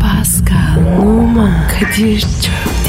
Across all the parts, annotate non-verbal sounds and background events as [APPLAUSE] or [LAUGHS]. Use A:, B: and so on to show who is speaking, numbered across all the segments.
A: Pascal, Oman, Kadir çok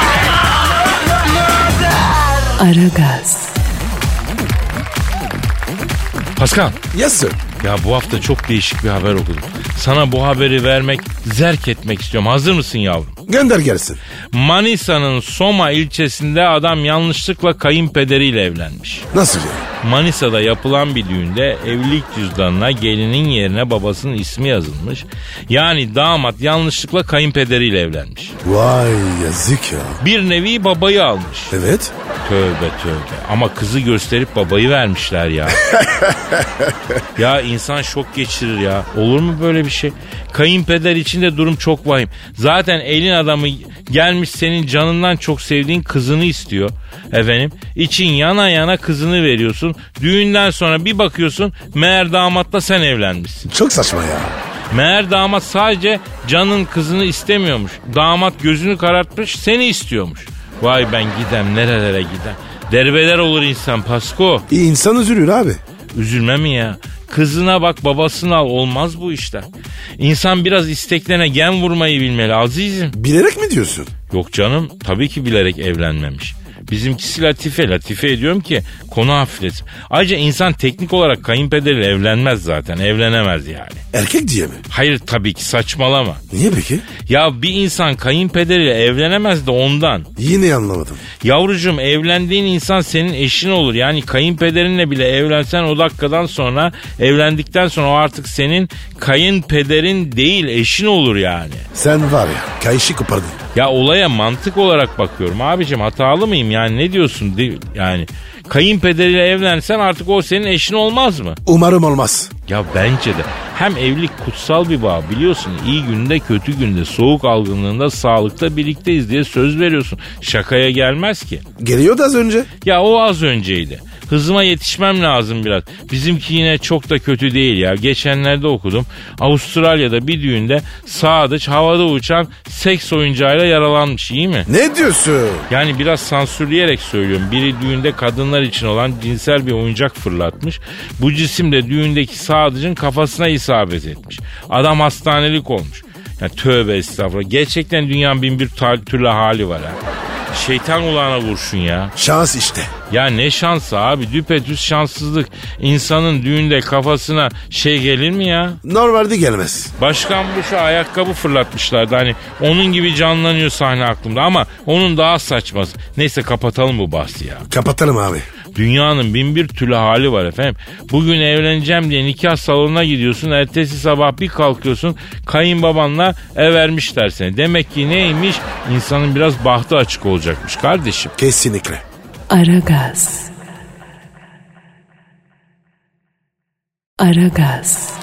A: Aragaz,
B: Pascal
C: Yes sir.
B: ya bu hafta çok değişik bir haber okudum. Sana bu haberi vermek, zerk etmek istiyorum. Hazır mısın yavrum?
C: Gönder gelsin.
B: Manisa'nın Soma ilçesinde adam yanlışlıkla kayınpederiyle evlenmiş.
C: Nasıl ya?
B: Manisa'da yapılan bir düğünde evlilik cüzdanına gelinin yerine babasının ismi yazılmış. Yani damat yanlışlıkla kayınpederiyle evlenmiş.
C: Vay yazık ya.
B: Bir nevi babayı almış.
C: Evet.
B: Tövbe tövbe. Ama kızı gösterip babayı vermişler ya. ya insan şok geçirir ya. Olur mu böyle bir şey? Kayınpeder için de durum çok vahim. Zaten elin adamı gelmiş senin canından çok sevdiğin kızını istiyor. Efendim için yana yana kızını veriyorsun. Düğünden sonra bir bakıyorsun meğer damatla sen evlenmişsin.
C: Çok saçma ya.
B: Meğer damat sadece canın kızını istemiyormuş. Damat gözünü karartmış seni istiyormuş. Vay ben gidem nerelere gidem. Derbeler olur insan Pasko.
C: İyi insan üzülür abi.
B: Üzülme mi ya? Kızına bak babasını al olmaz bu işler. İnsan biraz isteklerine gen vurmayı bilmeli azizim.
C: Bilerek mi diyorsun?
B: Yok canım tabii ki bilerek evlenmemiş. Bizimkisi Latife. Latife ediyorum ki konu hafiflesin. Ayrıca insan teknik olarak kayınpederiyle evlenmez zaten. Evlenemez yani.
C: Erkek diye mi?
B: Hayır tabii ki saçmalama.
C: Niye peki?
B: Ya bir insan kayınpederiyle evlenemez de ondan.
C: Yine anlamadım.
B: Yavrucuğum evlendiğin insan senin eşin olur. Yani kayınpederinle bile evlensen o dakikadan sonra evlendikten sonra o artık senin kayınpederin değil eşin olur yani.
C: Sen var ya kayışı kopardın.
B: Ya olaya mantık olarak bakıyorum abicim hatalı mıyım yani ne diyorsun Di- yani kayınpederiyle evlensen artık o senin eşin olmaz mı?
C: Umarım olmaz.
B: Ya bence de. Hem evlilik kutsal bir bağ biliyorsun. İyi günde kötü günde soğuk algınlığında sağlıkta birlikteyiz diye söz veriyorsun. Şakaya gelmez ki.
C: Geliyordu az önce.
B: Ya o az önceydi. Hızıma yetişmem lazım biraz. Bizimki yine çok da kötü değil ya. Geçenlerde okudum. Avustralya'da bir düğünde sadıç havada uçan seks oyuncağıyla yaralanmış iyi mi?
C: Ne diyorsun?
B: Yani biraz sansürleyerek söylüyorum. Biri düğünde kadınlar için olan cinsel bir oyuncak fırlatmış. Bu cisim de düğündeki sadıcın kafasına isabet etmiş. Adam hastanelik olmuş. Ya tövbe estağfurullah. Gerçekten dünyanın bin bir tar- türlü hali var ha. Şeytan kulağına vursun ya.
C: Şans işte.
B: Ya ne şansı abi düpedüz şanssızlık. İnsanın düğünde kafasına şey gelir mi ya?
C: Normalde gelmez.
B: Başkan Bush'a ayakkabı fırlatmışlardı. Hani onun gibi canlanıyor sahne aklımda ama onun daha saçması. Neyse kapatalım bu bahsi ya.
C: Kapatalım abi.
B: Dünyanın bin bir türlü hali var efendim. Bugün evleneceğim diye nikah salonuna gidiyorsun. Ertesi sabah bir kalkıyorsun kayınbabanla ev vermişler seni. Demek ki neymiş? İnsanın biraz bahtı açık olacakmış kardeşim.
C: Kesinlikle.
A: Aragaz. Aragaz,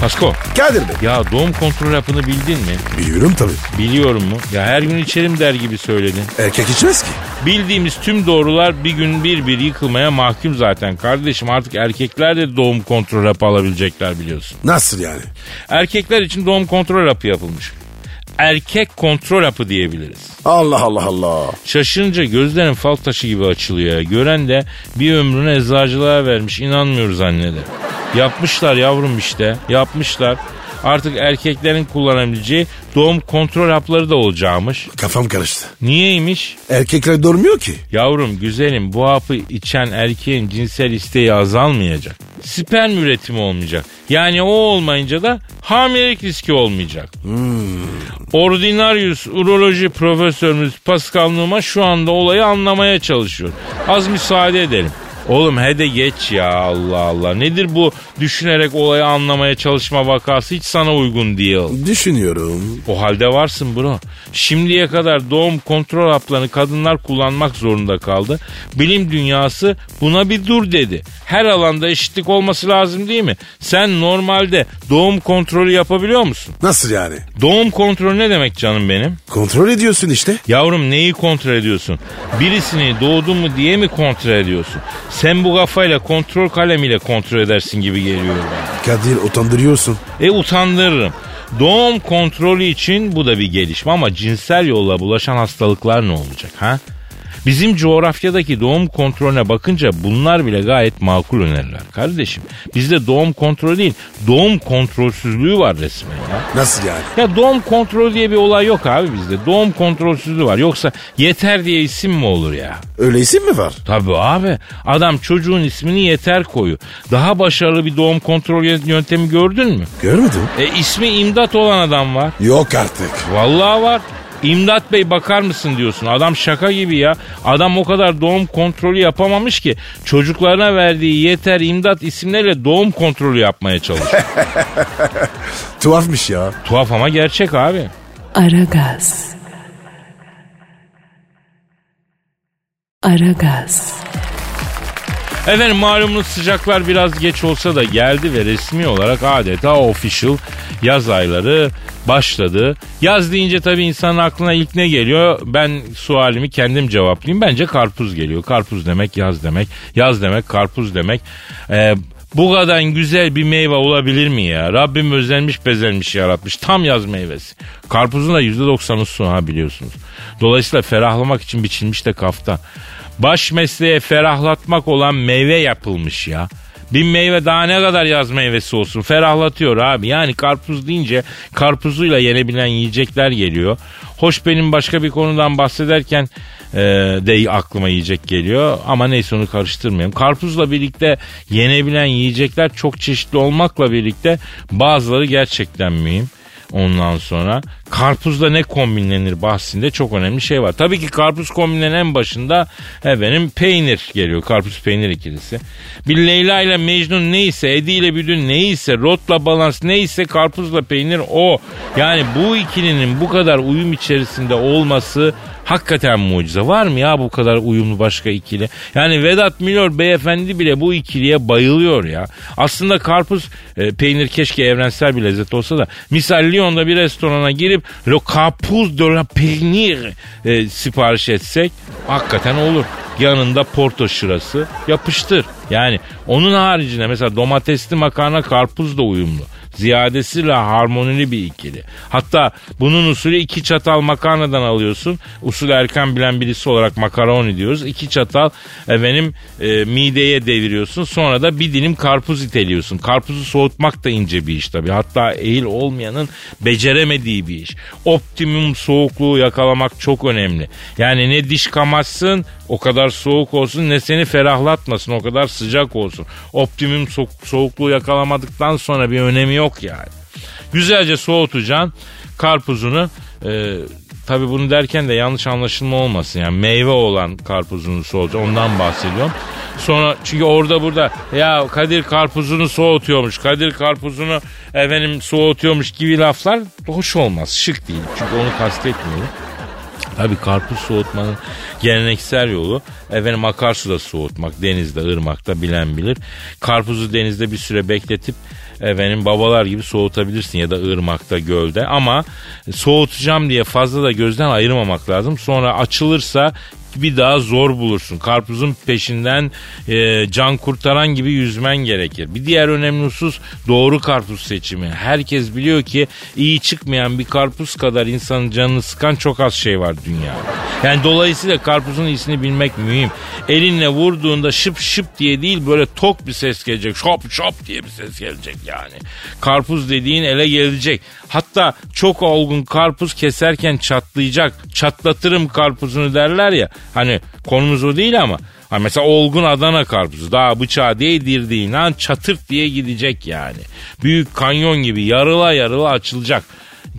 B: Pasko
C: Kadir Bey.
B: ya doğum kontrol hapını bildin mi?
C: Biliyorum tabii.
B: Biliyorum mu? Ya her gün içerim der gibi söyledin.
C: Erkek içmez ki.
B: Bildiğimiz tüm doğrular bir gün bir bir yıkılmaya mahkum zaten. Kardeşim artık erkekler de doğum kontrol hapı alabilecekler biliyorsun.
C: Nasıl yani?
B: Erkekler için doğum kontrol hapı yapılmış. Erkek kontrol hapı diyebiliriz.
C: Allah Allah Allah.
B: Şaşırınca gözlerin fal taşı gibi açılıyor. ya. Gören de bir ömrünü eczacılığa vermiş. İnanmıyoruz annede. Yapmışlar yavrum işte. Yapmışlar. Artık erkeklerin kullanabileceği doğum kontrol hapları da olacağımış.
C: Kafam karıştı.
B: Niyeymiş?
C: Erkekler durmuyor ki.
B: Yavrum güzelim bu hapı içen erkeğin cinsel isteği azalmayacak. Sperm üretimi olmayacak. Yani o olmayınca da hamilelik riski olmayacak. Ordinarius uroloji profesörümüz Pascal Numa şu anda olayı anlamaya çalışıyor. Az müsaade edelim. Oğlum he de geç ya Allah Allah. Nedir bu düşünerek olayı anlamaya çalışma vakası hiç sana uygun değil.
C: Düşünüyorum.
B: O halde varsın bro. Şimdiye kadar doğum kontrol haplarını kadınlar kullanmak zorunda kaldı. Bilim dünyası buna bir dur dedi. Her alanda eşitlik olması lazım değil mi? Sen normalde doğum kontrolü yapabiliyor musun?
C: Nasıl yani?
B: Doğum kontrolü ne demek canım benim?
C: Kontrol ediyorsun işte.
B: Yavrum neyi kontrol ediyorsun? Birisini doğdu mu diye mi kontrol ediyorsun? Sen bu kafayla kontrol kalemiyle kontrol edersin gibi geliyor bana.
C: Kadir utandırıyorsun.
B: E utandırırım. Doğum kontrolü için bu da bir gelişme ama cinsel yolla bulaşan hastalıklar ne olacak ha? Bizim coğrafyadaki doğum kontrolüne bakınca bunlar bile gayet makul öneriler kardeşim. Bizde doğum kontrolü değil, doğum kontrolsüzlüğü var resmen ya.
C: Nasıl yani?
B: Ya doğum kontrolü diye bir olay yok abi bizde. Doğum kontrolsüzlüğü var. Yoksa yeter diye isim mi olur ya?
C: Öyle isim mi var?
B: Tabii abi. Adam çocuğun ismini yeter koyu. Daha başarılı bir doğum kontrol yöntemi gördün mü?
C: Görmedim.
B: E ismi imdat olan adam var.
C: Yok artık.
B: Vallahi var. İmdat Bey bakar mısın diyorsun. Adam şaka gibi ya. Adam o kadar doğum kontrolü yapamamış ki çocuklarına verdiği yeter imdat isimlerle doğum kontrolü yapmaya çalışıyor.
C: Tuhafmış ya.
B: Tuhaf ama gerçek abi.
A: Aragaz. Aragaz.
B: Efendim malumunuz sıcaklar biraz geç olsa da geldi ve resmi olarak adeta official yaz ayları başladı. Yaz deyince tabii insanın aklına ilk ne geliyor? Ben sualimi kendim cevaplayayım. Bence karpuz geliyor. Karpuz demek yaz demek. Yaz demek karpuz demek. Ee, bu kadar güzel bir meyve olabilir mi ya? Rabbim özenmiş bezenmiş yaratmış. Tam yaz meyvesi. Karpuzun da %90'ı su ha biliyorsunuz. Dolayısıyla ferahlamak için biçilmiş de kaftan. Baş mesleğe ferahlatmak olan meyve yapılmış ya. Bir meyve daha ne kadar yaz meyvesi olsun ferahlatıyor abi. Yani karpuz deyince karpuzuyla yenebilen yiyecekler geliyor. Hoş benim başka bir konudan bahsederken e, de aklıma yiyecek geliyor. Ama neyse onu karıştırmayayım. Karpuzla birlikte yenebilen yiyecekler çok çeşitli olmakla birlikte bazıları gerçekten mühim. Ondan sonra karpuzla ne kombinlenir bahsinde çok önemli şey var. Tabii ki karpuz kombinlerin en başında efendim peynir geliyor. Karpuz peynir ikilisi. Bir Leyla ile Mecnun neyse, Edi ile Büdün neyse, Rot'la Balans neyse karpuzla peynir o. Yani bu ikilinin bu kadar uyum içerisinde olması hakikaten mucize. Var mı ya bu kadar uyumlu başka ikili? Yani Vedat Milor beyefendi bile bu ikiliye bayılıyor ya. Aslında karpuz e, peynir keşke evrensel bir lezzet olsa da misal Lyon'da bir restorana girip Le Carpuz de la Peynir e, sipariş etsek hakikaten olur. Yanında porto şırası yapıştır. Yani onun haricinde mesela domatesli makarna karpuz da uyumlu ziyadesiyle harmonili bir ikili. Hatta bunun usulü iki çatal makarnadan alıyorsun. Usul erken bilen birisi olarak makaroni diyoruz. İki çatal efendim e, mideye deviriyorsun. Sonra da bir dilim karpuz iteliyorsun. Karpuzu soğutmak da ince bir iş tabii. Hatta eğil olmayanın beceremediği bir iş. Optimum soğukluğu yakalamak çok önemli. Yani ne diş kamatsın o kadar soğuk olsun ne seni ferahlatmasın o kadar sıcak olsun. Optimum so- soğukluğu yakalamadıktan sonra bir önemi yok yani. Güzelce soğutacaksın karpuzunu. E, Tabi bunu derken de yanlış anlaşılma olmasın. Yani meyve olan karpuzunu soğutacaksın. Ondan bahsediyorum. Sonra çünkü orada burada ya Kadir karpuzunu soğutuyormuş. Kadir karpuzunu efendim soğutuyormuş gibi laflar hoş olmaz. Şık değil. Çünkü onu kastetmiyorum. Tabii karpuz soğutmanın geleneksel yolu efendim akarsuda soğutmak. Denizde, ırmakta bilen bilir. Karpuzu denizde bir süre bekletip efendim babalar gibi soğutabilirsin ya da ırmakta, gölde. Ama soğutacağım diye fazla da gözden ayırmamak lazım. Sonra açılırsa bir daha zor bulursun. Karpuzun peşinden e, can kurtaran gibi yüzmen gerekir. Bir diğer önemli husus doğru karpuz seçimi. Herkes biliyor ki iyi çıkmayan bir karpuz kadar insanın canını sıkan çok az şey var dünyada. Yani dolayısıyla karpuzun iyisini bilmek mühim. Elinle vurduğunda şıp şıp diye değil böyle tok bir ses gelecek. Şop şop diye bir ses gelecek yani. Karpuz dediğin ele gelecek. Hatta çok olgun karpuz keserken çatlayacak. Çatlatırım karpuzunu derler ya. Hani konumuz o değil ama. Hani mesela olgun Adana karpuzu daha bıçağı değdirdiğin an çatırt diye gidecek yani. Büyük kanyon gibi yarıla yarıla açılacak.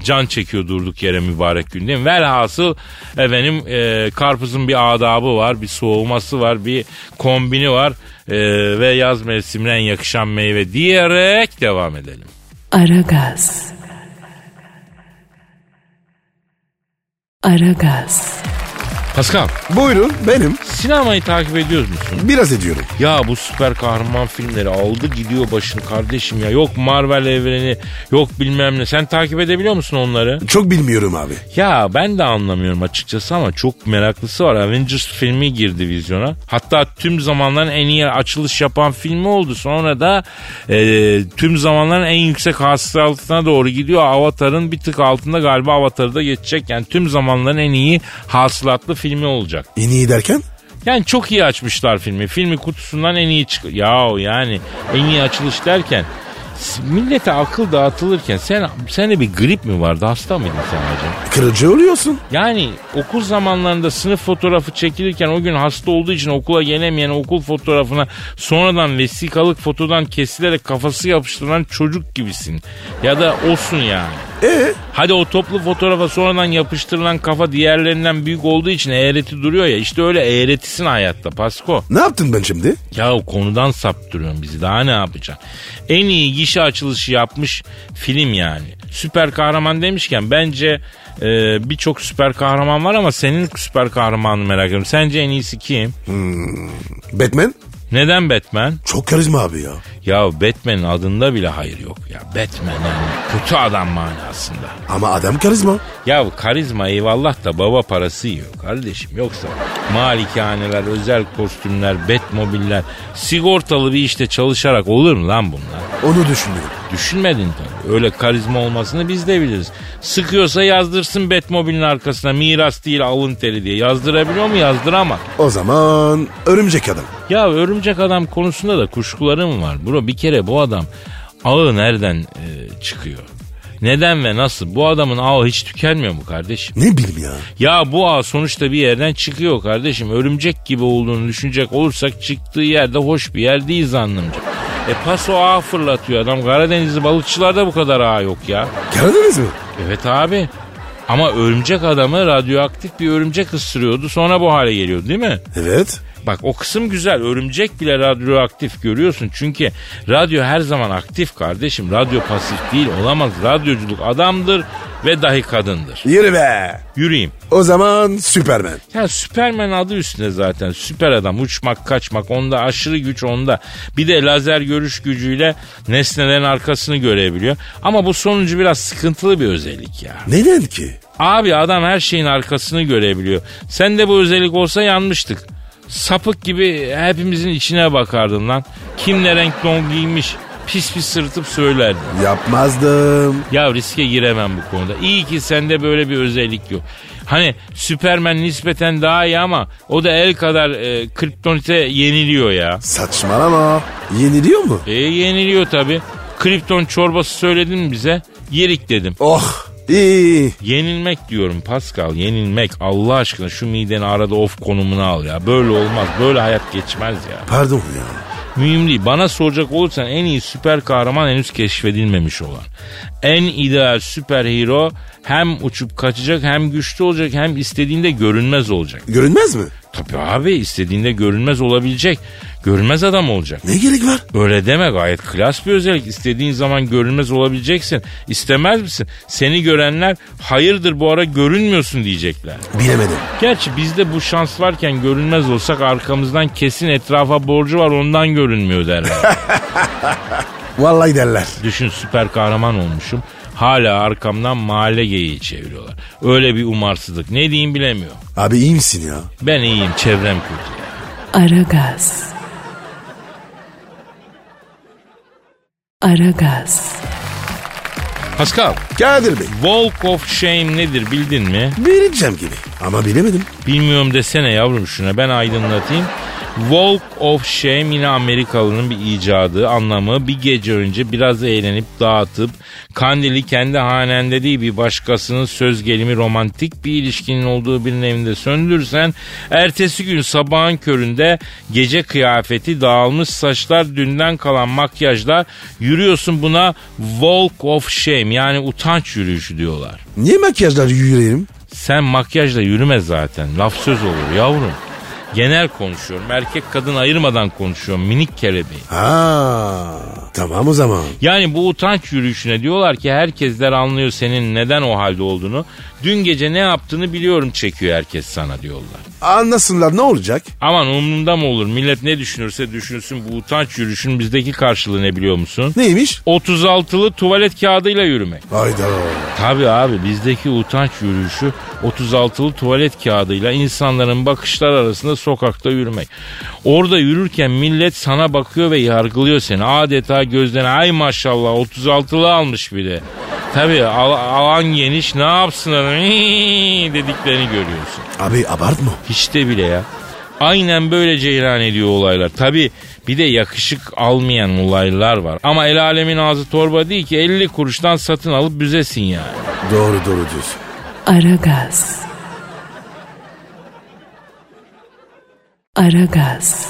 B: Can çekiyor durduk yere mübarek gün değil mi? Velhasıl efendim e, karpuzun bir adabı var, bir soğuması var, bir kombini var. e, ve yaz mevsimine en yakışan meyve diyerek devam edelim.
A: Aragaz. Aragaz.
B: Pascal
C: Buyurun benim.
B: sinemayı takip ediyoruz musun?
C: Biraz ediyorum.
B: Ya bu süper kahraman filmleri aldı gidiyor başını kardeşim ya. Yok Marvel evreni yok bilmem ne. Sen takip edebiliyor musun onları?
C: Çok bilmiyorum abi.
B: Ya ben de anlamıyorum açıkçası ama çok meraklısı var. Avengers filmi girdi vizyona. Hatta tüm zamanların en iyi açılış yapan filmi oldu. Sonra da e, tüm zamanların en yüksek hasılatına doğru gidiyor. Avatar'ın bir tık altında galiba Avatar'ı da geçecek. Yani tüm zamanların en iyi hasılatlı filmi olacak.
C: En iyi derken?
B: Yani çok iyi açmışlar filmi. Filmi kutusundan en iyi çık... Yahu yani en iyi açılış derken s- millete akıl dağıtılırken sen sende bir grip mi vardı hasta mıydın sen hacı?
C: Kırıcı oluyorsun.
B: Yani okul zamanlarında sınıf fotoğrafı çekilirken o gün hasta olduğu için okula gelemeyen okul fotoğrafına sonradan vesikalık fotodan kesilerek kafası yapıştırılan çocuk gibisin. Ya da olsun yani.
C: E
B: Hadi o toplu fotoğrafa sonradan yapıştırılan kafa diğerlerinden büyük olduğu için eğreti duruyor ya. işte öyle eğretisin hayatta Pasko.
C: ne yaptın ben şimdi?
B: Ya konudan saptırıyorsun bizi daha ne yapacaksın? En iyi gişe açılışı yapmış film yani. Süper kahraman demişken bence e, birçok süper kahraman var ama senin süper kahramanını merak ediyorum. Sence en iyisi kim?
C: Batman?
B: Neden Batman?
C: Çok karizma abi ya.
B: Ya Batman'in adında bile hayır yok ya. Batman yani kötü adam manasında.
C: Ama adam karizma.
B: Ya bu karizma eyvallah da baba parası yiyor kardeşim. Yoksa malikaneler, özel kostümler, betmobiller, sigortalı bir işte çalışarak olur mu lan bunlar?
C: Onu düşünüyorum.
B: Düşünmedin tabii. Öyle karizma olmasını biz de biliriz. Sıkıyorsa yazdırsın Batmobile'in arkasına miras değil alın teri diye. Yazdırabiliyor mu? Yazdıramaz.
C: O zaman örümcek adam.
B: Ya örümcek adam konusunda da kuşkularım var. Bro bir kere bu adam ağı nereden e, çıkıyor? Neden ve nasıl? Bu adamın ağı hiç tükenmiyor mu kardeşim?
C: Ne bileyim ya.
B: Ya bu ağ sonuçta bir yerden çıkıyor kardeşim. Örümcek gibi olduğunu düşünecek olursak çıktığı yerde hoş bir yer değil zannımca. E paso ağ fırlatıyor adam. Karadenizli balıkçılarda bu kadar ağ yok ya.
C: Karadeniz mi?
B: Evet abi. Ama örümcek adamı radyoaktif bir örümcek ısırıyordu. Sonra bu hale geliyordu değil mi?
C: Evet.
B: Bak o kısım güzel. Örümcek bile radyoaktif görüyorsun. Çünkü radyo her zaman aktif kardeşim. Radyo pasif değil olamaz. Radyoculuk adamdır ve dahi kadındır.
C: Yürü be.
B: Yürüyeyim.
C: O zaman Superman.
B: Ya Süpermen adı üstünde zaten. Süper adam. Uçmak, kaçmak. Onda aşırı güç onda. Bir de lazer görüş gücüyle nesnelerin arkasını görebiliyor. Ama bu sonuncu biraz sıkıntılı bir özellik ya.
C: Neden ki?
B: Abi adam her şeyin arkasını görebiliyor. Sen de bu özellik olsa yanmıştık. Sapık gibi hepimizin içine bakardın lan. Kim ne renk don giymiş pis pis sırıtıp söylerdin.
C: Yapmazdım.
B: Ya riske giremem bu konuda. İyi ki sende böyle bir özellik yok. Hani Süpermen nispeten daha iyi ama o da el kadar e, kriptonite yeniliyor ya.
C: Saçmalama. Yeniliyor mu?
B: E yeniliyor tabi. Kripton çorbası söyledin mi bize? Yerik dedim.
C: Oh. İyi.
B: Yenilmek diyorum Pascal yenilmek Allah aşkına şu mideni arada of konumuna al ya. Böyle olmaz böyle hayat geçmez ya.
C: Pardon ya.
B: Mühim değil bana soracak olursan en iyi süper kahraman henüz keşfedilmemiş olan. En ideal süper hero hem uçup kaçacak hem güçlü olacak hem istediğinde görünmez olacak.
C: Görünmez mi?
B: Tabii abi istediğinde görünmez olabilecek. Görünmez adam olacak.
C: Ne gerek var?
B: Öyle deme gayet klas bir özellik. İstediğin zaman görünmez olabileceksin. İstemez misin? Seni görenler hayırdır bu ara görünmüyorsun diyecekler.
C: Bilemedim.
B: Gerçi bizde bu şans varken görünmez olsak arkamızdan kesin etrafa borcu var ondan görünmüyor derler.
C: Vallahi derler.
B: Düşün süper kahraman olmuşum. Hala arkamdan mahalle geyiği çeviriyorlar. Öyle bir umarsızlık. Ne diyeyim bilemiyorum.
C: Abi iyi misin ya?
B: Ben iyiyim çevrem kötü.
A: Aragaz. Aragaz.
B: Pascal,
C: Kadir Bey.
B: Walk of Shame nedir bildin mi?
C: Bileceğim gibi. Ama bilemedim.
B: Bilmiyorum desene yavrum şuna ben aydınlatayım. Walk of Shame yine Amerikalı'nın bir icadı anlamı bir gece önce biraz eğlenip dağıtıp kandili kendi hanende değil bir başkasının söz gelimi romantik bir ilişkinin olduğu birinin evinde söndürsen ertesi gün sabahın köründe gece kıyafeti dağılmış saçlar dünden kalan makyajlar yürüyorsun buna Walk of Shame yani utanç yürüyüşü diyorlar.
C: Niye makyajlar yürüyelim?
B: Sen makyajla yürüme zaten. Laf söz olur yavrum. Genel konuşuyorum. Erkek kadın ayırmadan konuşuyorum. Minik kelebeği.
C: Ha, tamam o zaman.
B: Yani bu utanç yürüyüşüne diyorlar ki herkesler anlıyor senin neden o halde olduğunu. Dün gece ne yaptığını biliyorum çekiyor herkes sana diyorlar.
C: Anlasınlar ne olacak?
B: Aman umrumda mı olur millet ne düşünürse düşünsün bu utanç yürüyüşünün bizdeki karşılığı ne biliyor musun?
C: Neymiş?
B: 36'lı tuvalet kağıdıyla yürümek.
C: Hayda.
B: Tabii abi bizdeki utanç yürüyüşü 36'lı tuvalet kağıdıyla insanların bakışlar arasında sokakta yürümek. Orada yürürken millet sana bakıyor ve yargılıyor seni. Adeta gözden ay maşallah 36'lı almış bile. Tabii al- alan geniş ne yapsın adam [LAUGHS] "Hii" dediklerini görüyorsun.
C: Abi abartma.
B: Hiç de bile ya. Aynen böyle ceyran ediyor olaylar. Tabi bir de yakışık almayan olaylar var. Ama el alemin ağzı torba değil ki 50 kuruştan satın alıp büzesin yani.
C: Doğru doğru diyorsun.
A: Aragaz. Aragaz.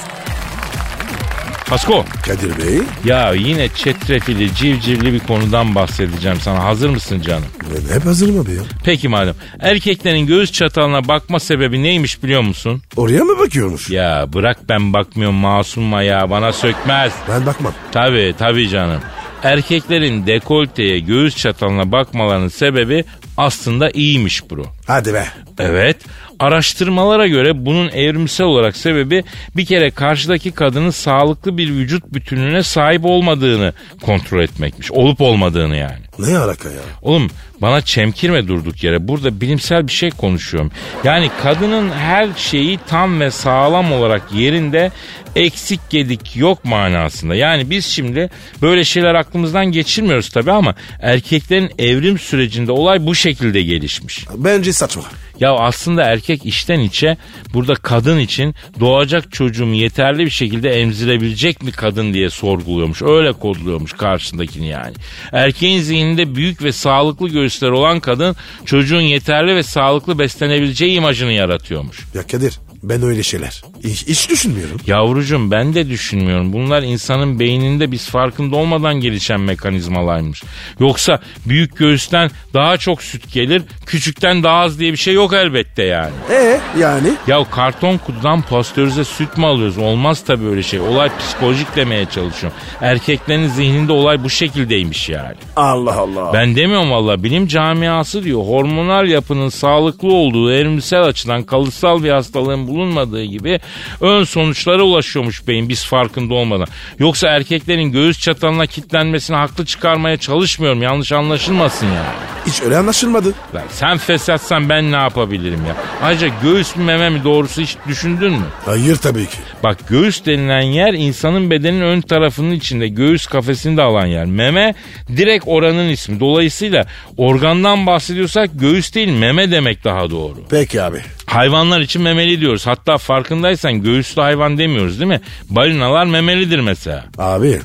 B: Pasko
C: Kadir Bey
B: ya yine çetrefilli civcivli bir konudan bahsedeceğim sana. Hazır mısın canım?
C: ben hep hazırım abi ya.
B: Peki madem erkeklerin göğüs çatalına bakma sebebi neymiş biliyor musun?
C: Oraya mı bakıyormuş?
B: Ya bırak ben bakmıyorum masumma ya bana sökmez.
C: Ben bakmam.
B: Tabii tabii canım. Erkeklerin dekolteye göğüs çatalına bakmalarının sebebi aslında iyiymiş bro.
C: Hadi be.
B: Evet. Araştırmalara göre bunun evrimsel olarak sebebi bir kere karşıdaki kadının sağlıklı bir vücut bütünlüğüne sahip olmadığını kontrol etmekmiş. Olup olmadığını yani.
C: Ne alaka ya?
B: Oğlum bana çemkirme durduk yere. Burada bilimsel bir şey konuşuyorum. Yani kadının her şeyi tam ve sağlam olarak yerinde eksik gedik yok manasında. Yani biz şimdi böyle şeyler aklımızdan geçirmiyoruz tabii ama erkeklerin evrim sürecinde olay bu şekilde gelişmiş.
C: Bence saçma.
B: Ya aslında erkek içten içe burada kadın için doğacak çocuğum yeterli bir şekilde emzirebilecek mi kadın diye sorguluyormuş. Öyle kodluyormuş karşısındakini yani. Erkeğin zihninde büyük ve sağlıklı göğüsler olan kadın çocuğun yeterli ve sağlıklı beslenebileceği imajını yaratıyormuş.
C: Ya Kadir ben öyle şeyler hiç, hiç düşünmüyorum.
B: Yavrucuğum ben de düşünmüyorum. Bunlar insanın beyninde biz farkında olmadan gelişen mekanizmalarmış. Yoksa büyük göğüsten daha çok süt gelir, küçükten daha az diye bir şey yok elbette yani.
C: E yani?
B: Ya karton kutudan pastörize süt mü alıyoruz? Olmaz tabii öyle şey. Olay psikolojik demeye çalışıyorum. Erkeklerin zihninde olay bu şekildeymiş yani.
C: Allah Allah.
B: Ben demiyorum valla bilim camiası diyor. Hormonal yapının sağlıklı olduğu evrimsel açıdan kalıtsal bir hastalığın bulunmadığı gibi ön sonuçlara ulaşıyormuş beyin biz farkında olmadan. Yoksa erkeklerin göğüs çatalına kitlenmesini haklı çıkarmaya çalışmıyorum. Yanlış anlaşılmasın yani.
C: Hiç öyle anlaşılmadı.
B: Lan sen fesatsan ben ne yapabilirim ya? Ayrıca göğüs mü meme mi doğrusu hiç düşündün mü?
C: Hayır tabii ki.
B: Bak göğüs denilen yer insanın bedenin ön tarafının içinde göğüs kafesini de alan yer. Meme direkt oranın ismi. Dolayısıyla organdan bahsediyorsak göğüs değil meme demek daha doğru.
C: Peki abi.
B: Hayvanlar için memeli diyoruz. Hatta farkındaysan göğüslü hayvan demiyoruz değil mi? Balinalar memelidir mesela.
C: Abi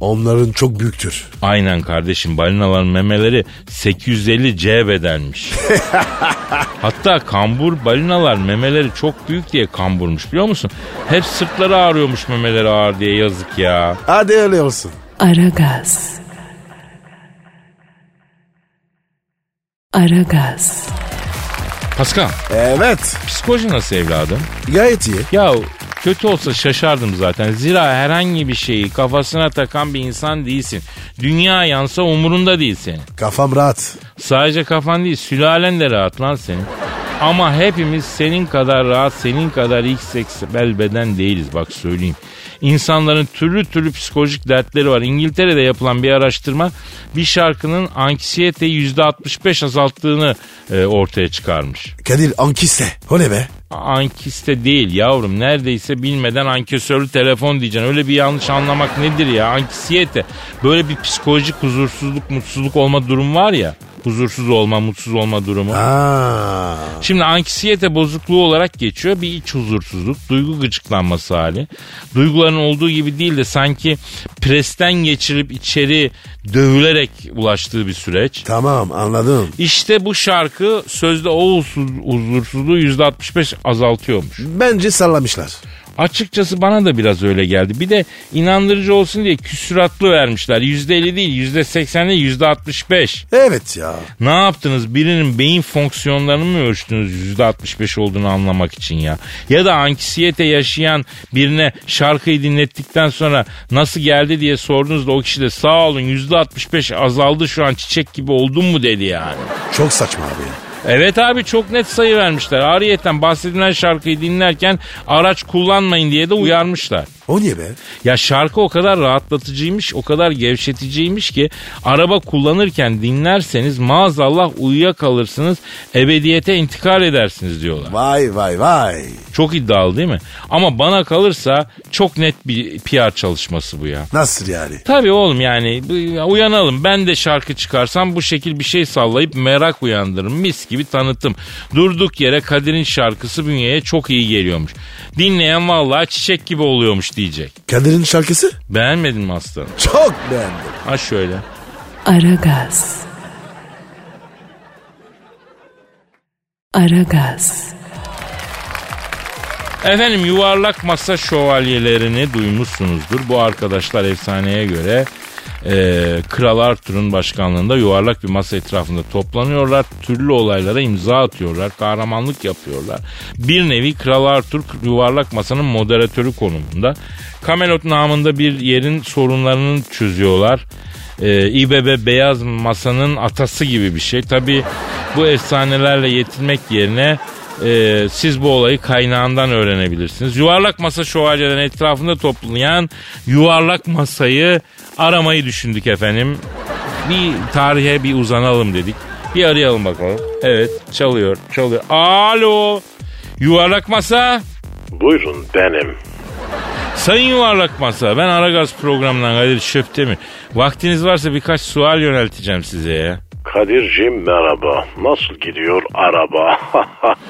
C: onların çok büyüktür.
B: Aynen kardeşim balinaların memeleri 850 C bedenmiş. Hatta kambur balinalar memeleri çok büyük diye kamburmuş biliyor musun? Hep sırtları ağrıyormuş memeleri ağır diye yazık ya.
C: Hadi öyle olsun.
A: Aragaz. Aragaz.
B: Pascal
C: Evet.
B: psikoloji nasıl evladım?
C: Gayet iyi.
B: Ya kötü olsa şaşardım zaten. Zira herhangi bir şeyi kafasına takan bir insan değilsin. Dünya yansa umurunda değil senin.
C: Kafam rahat.
B: Sadece kafan değil sülalen de rahat lan senin. Ama hepimiz senin kadar rahat, senin kadar XXL beden değiliz bak söyleyeyim. İnsanların türlü türlü psikolojik dertleri var. İngiltere'de yapılan bir araştırma bir şarkının anksiyeteyi %65 azalttığını e, ortaya çıkarmış.
C: Kadir ankiste. O ne be?
B: Ankiste değil yavrum neredeyse bilmeden ankesörlü telefon diyeceksin. Öyle bir yanlış anlamak nedir ya anksiyete. Böyle bir psikolojik huzursuzluk mutsuzluk olma durum var ya. Huzursuz olma mutsuz olma durumu.
C: Aa.
B: Şimdi anksiyete bozukluğu olarak geçiyor. Bir iç huzursuzluk, duygu gıcıklanması hali. Duyguların olduğu gibi değil de sanki presten geçirip içeri dövülerek ulaştığı bir süreç.
C: Tamam anladım.
B: İşte bu şarkı sözde o huzursuz- huzursuzluğu %65 azaltıyormuş.
C: Bence sallamışlar.
B: Açıkçası bana da biraz öyle geldi. Bir de inandırıcı olsun diye küsüratlı vermişler. %50 değil %80 değil %65.
C: Evet ya.
B: Ne yaptınız? Birinin beyin fonksiyonlarını mı ölçtünüz %65 olduğunu anlamak için ya? Ya da anksiyete yaşayan birine şarkıyı dinlettikten sonra nasıl geldi diye sordunuz da o kişi de sağ olun %65 azaldı şu an çiçek gibi oldun mu dedi yani.
C: Çok saçma abi. ya.
B: Evet abi çok net sayı vermişler. Ariyetten bahsedilen şarkıyı dinlerken araç kullanmayın diye de uyarmışlar.
C: O niye be?
B: Ya şarkı o kadar rahatlatıcıymış, o kadar gevşeticiymiş ki araba kullanırken dinlerseniz maazallah uyuyakalırsınız, ebediyete intikal edersiniz diyorlar.
C: Vay vay vay.
B: Çok iddialı değil mi? Ama bana kalırsa çok net bir PR çalışması bu ya.
C: Nasıl yani?
B: Tabii oğlum yani bu- uyanalım. Ben de şarkı çıkarsam bu şekil bir şey sallayıp merak uyandırırım. Mis gibi tanıtım. Durduk yere Kadir'in şarkısı bünyeye çok iyi geliyormuş. Dinleyen vallahi çiçek gibi oluyormuş diyecek.
C: Kadir'in şarkısı?
B: Beğenmedin mi aslanım?
C: Çok beğendim.
B: Ha şöyle.
A: Aragaz. Aragaz.
B: Efendim yuvarlak masa şövalyelerini duymuşsunuzdur. Bu arkadaşlar efsaneye göre e, Kral Arthur'un başkanlığında yuvarlak bir masa etrafında toplanıyorlar. Türlü olaylara imza atıyorlar. Kahramanlık yapıyorlar. Bir nevi Kral Arthur yuvarlak masanın moderatörü konumunda. Camelot namında bir yerin sorunlarını çözüyorlar. E, İBB Beyaz Masa'nın atası gibi bir şey. Tabi bu efsanelerle yetinmek yerine ee, siz bu olayı kaynağından öğrenebilirsiniz. Yuvarlak masa şövalyelerin etrafında toplayan yuvarlak masayı aramayı düşündük efendim. Bir tarihe bir uzanalım dedik. Bir arayalım bakalım. Evet çalıyor çalıyor. Alo yuvarlak masa.
D: Buyurun benim.
B: Sayın yuvarlak masa ben Aragaz programından Kadir Şöptemir. Vaktiniz varsa birkaç sual yönelteceğim size ya.
D: Kadir'cim merhaba. Nasıl gidiyor araba? [LAUGHS]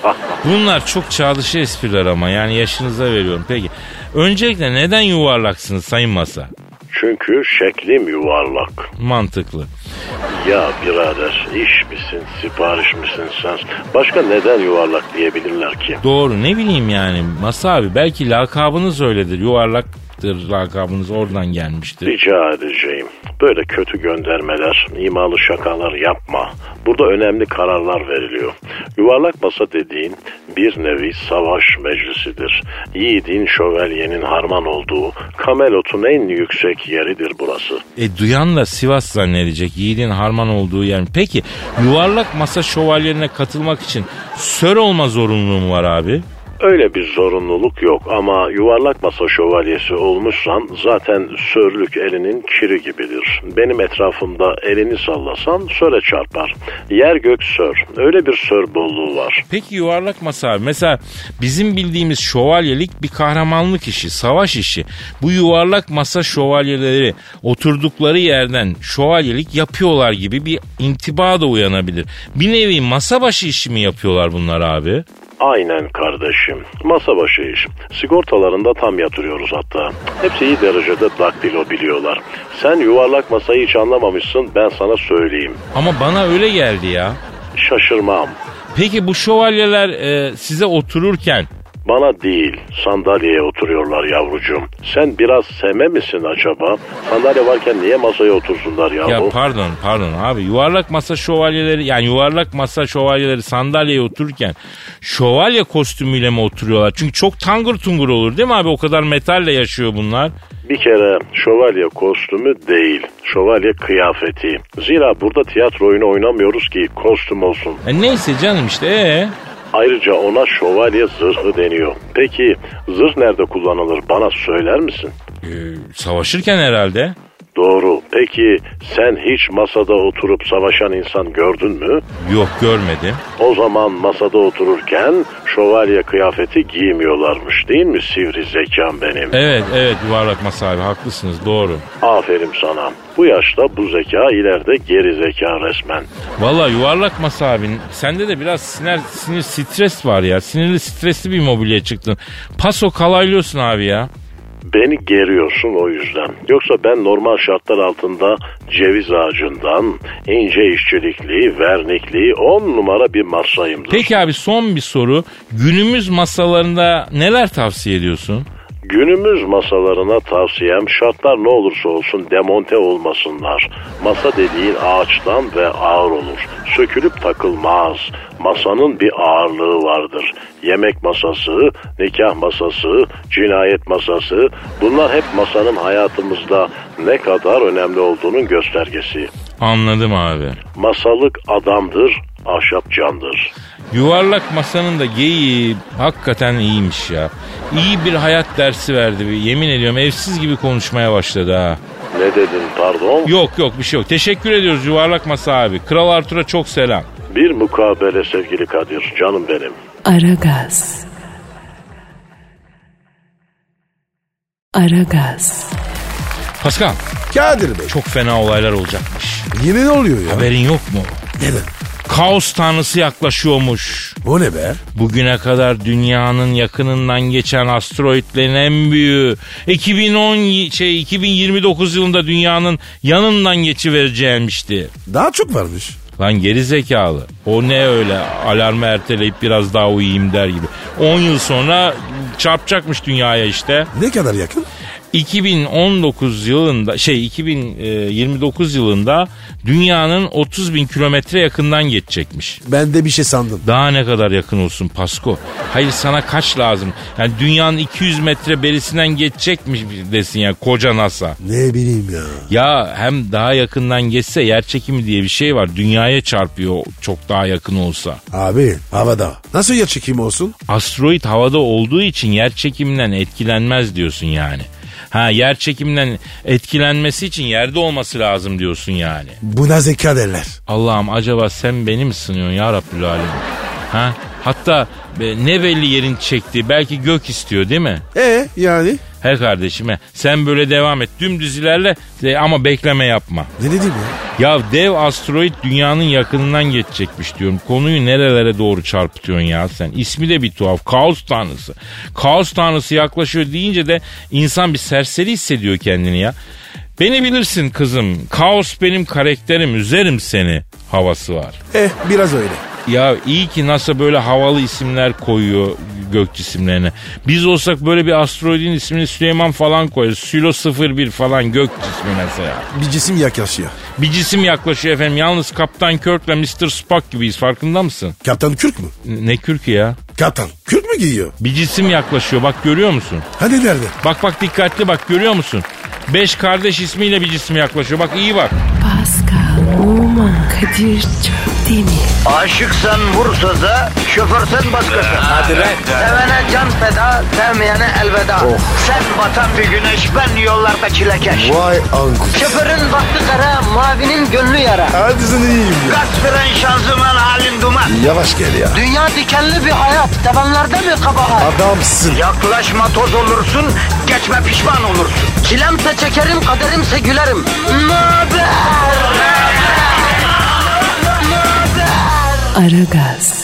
B: Bunlar çok çağdışı espriler ama yani yaşınıza veriyorum. Peki öncelikle neden yuvarlaksınız sayın masa?
D: Çünkü şeklim yuvarlak.
B: Mantıklı.
D: Ya birader iş misin, sipariş misin sen? Başka neden yuvarlak diyebilirler ki?
B: Doğru ne bileyim yani Masa abi belki lakabınız öyledir yuvarlaktır lakabınız oradan gelmiştir.
D: Rica edeceğim. Böyle kötü göndermeler, imalı şakalar yapma. Burada önemli kararlar veriliyor. Yuvarlak masa dediğin bir nevi savaş meclisidir. Yiğidin şövalyenin harman olduğu, kamelotun en yüksek yeridir burası.
B: E duyan da Sivas zannedecek yiğidin harman olduğu yer. Peki yuvarlak masa şövalyelerine katılmak için sör olma zorunluluğu mu var abi?
D: Öyle bir zorunluluk yok ama yuvarlak masa şövalyesi olmuşsan zaten sörlük elinin kiri gibidir. Benim etrafımda elini sallasan söre çarpar. Yer gök sör. Öyle bir sör bolluğu var.
B: Peki yuvarlak masa abi mesela bizim bildiğimiz şövalyelik bir kahramanlık işi, savaş işi. Bu yuvarlak masa şövalyeleri oturdukları yerden şövalyelik yapıyorlar gibi bir intiba da uyanabilir. Bir nevi masa başı işi mi yapıyorlar bunlar abi?
D: Aynen kardeşim. Masa başı iş. Sigortalarında tam yatırıyoruz hatta. Hepsi iyi derecede daktilo biliyorlar. Sen yuvarlak masayı hiç anlamamışsın ben sana söyleyeyim.
B: Ama bana öyle geldi ya.
D: Şaşırmam.
B: Peki bu şövalyeler e, size otururken
D: Bana değil, sandalyeye oturuyorlar yavrucuğum. Sen biraz seme misin acaba? Sandalye varken niye masaya otursunlar yahu?
B: ya pardon pardon abi yuvarlak masa şövalyeleri yani yuvarlak masa şövalyeleri sandalyeye otururken şövalye kostümüyle mi oturuyorlar? Çünkü çok tangır tungur olur değil mi abi o kadar metalle yaşıyor bunlar.
D: Bir kere şövalye kostümü değil, şövalye kıyafeti. Zira burada tiyatro oyunu oynamıyoruz ki kostüm olsun.
B: E neyse canım işte ee?
D: Ayrıca ona şövalye zırhı deniyor. Peki zırh nerede kullanılır bana söyler misin?
B: Ee, savaşırken herhalde.
D: Doğru. Peki sen hiç masada oturup savaşan insan gördün mü?
B: Yok görmedim.
D: O zaman masada otururken şövalye kıyafeti giymiyorlarmış değil mi sivri zekam benim?
B: Evet evet yuvarlak masa abi haklısınız doğru.
D: Aferin sana. Bu yaşta bu zeka ileride geri zeka resmen.
B: Valla yuvarlak masa abin sende de biraz sinir, sinir stres var ya. Sinirli stresli bir mobilya çıktın. Paso kalaylıyorsun abi ya.
D: Beni geriyorsun o yüzden. Yoksa ben normal şartlar altında ceviz ağacından ince işçilikli, vernikli on numara bir masayımdır.
B: Peki abi son bir soru. Günümüz masalarında neler tavsiye ediyorsun?
D: Günümüz masalarına tavsiyem şartlar ne olursa olsun demonte olmasınlar. Masa dediğin ağaçtan ve ağır olur. Sökülüp takılmaz. Masanın bir ağırlığı vardır. Yemek masası, nikah masası, cinayet masası bunlar hep masanın hayatımızda ne kadar önemli olduğunun göstergesi.
B: Anladım abi.
D: Masalık adamdır, ahşap candır.
B: Yuvarlak masanın da geyiği hakikaten iyiymiş ya. İyi bir hayat dersi verdi. Yemin ediyorum evsiz gibi konuşmaya başladı ha.
D: Ne dedin pardon?
B: Yok yok bir şey yok. Teşekkür ediyoruz yuvarlak masa abi. Kral Artur'a çok selam.
D: Bir mukabele sevgili Kadir, canım benim.
A: Aragaz. Aragaz.
B: Pascal
C: Kadir Bey.
B: çok fena olaylar olacakmış.
C: Yine ne oluyor ya?
B: Haberin yok mu?
C: Ne be?
B: Kaos tanrısı yaklaşıyormuş.
C: Bu ne be?
B: Bugüne kadar dünyanın yakınından geçen asteroidlerin en büyüğü 2010 y- şey 2029 yılında dünyanın yanından geçi vereceğimişti.
C: Daha çok varmış.
B: Lan geri zekalı. O ne öyle alarmı erteleyip biraz daha uyuyayım der gibi. 10 yıl sonra çarpacakmış dünyaya işte.
C: Ne kadar yakın?
B: 2019 yılında şey 2029 yılında dünyanın 30 bin kilometre yakından geçecekmiş.
C: Ben de bir şey sandım.
B: Daha ne kadar yakın olsun Pasko? Hayır sana kaç lazım? Yani dünyanın 200 metre berisinden geçecekmiş desin ya koca NASA.
C: Ne bileyim ya.
B: Ya hem daha yakından geçse yer çekimi diye bir şey var. Dünyaya çarpıyor çok daha yakın olsa.
C: Abi havada. Nasıl yer çekimi olsun?
B: Asteroid havada olduğu için yer çekiminden etkilenmez diyorsun yani. Ha yer çekiminden etkilenmesi için yerde olması lazım diyorsun yani.
C: Buna zeka derler.
B: Allah'ım acaba sen beni mi sınıyorsun ya Rabbül Alem? Ha? Hatta e, ne belli yerin çektiği belki gök istiyor değil mi?
C: E yani?
B: He kardeşime sen böyle devam et dümdüz ilerle e, ama bekleme yapma.
C: Ne dedim ya?
B: Ya dev asteroid dünyanın yakınından geçecekmiş diyorum. Konuyu nerelere doğru çarpıtıyorsun ya sen? İsmi de bir tuhaf. Kaos tanrısı. Kaos tanrısı yaklaşıyor deyince de insan bir serseri hissediyor kendini ya. Beni bilirsin kızım. Kaos benim karakterim. Üzerim seni havası var.
C: Eh biraz öyle.
B: Ya iyi ki NASA böyle havalı isimler koyuyor gök cisimlerine. Biz olsak böyle bir asteroidin ismini Süleyman falan koyarız. Sülo 01 falan gök cismi mesela.
C: Bir cisim yaklaşıyor.
B: Bir cisim yaklaşıyor efendim. Yalnız Kaptan Kirk'le Mr. Spock gibiyiz farkında mısın?
C: Kaptan Kürk mü?
B: N- Ne kürkü ya?
C: Kaptan Kürk mü giyiyor?
B: Bir cisim yaklaşıyor bak görüyor musun?
C: Hadi nerede?
B: Bak bak dikkatli bak görüyor musun? Beş kardeş ismiyle bir cisim yaklaşıyor. Bak iyi bak.
A: Pascal, Oman, Kadir çok değil mi?
E: Aşıksan vursa da, şoförsen başkasın. Hadi Sevene can feda, sevmeyene elveda. Sen batan bir güneş, ben yollarda çilekeş.
C: Vay anku.
E: Şoförün baktı kara, mavinin gönlü yara.
C: Hadi sen iyiyim ya.
E: Kasperen şanzıman halin duman.
C: Yavaş gel ya.
E: Dünya dikenli bir hayat, sevenlerde mi kabahar?
C: Adamsın.
E: Yaklaşma toz olursun, geçme pişman olursun. Çilemse çekerim, kaderimse gülerim. Möber!
A: Aragaz.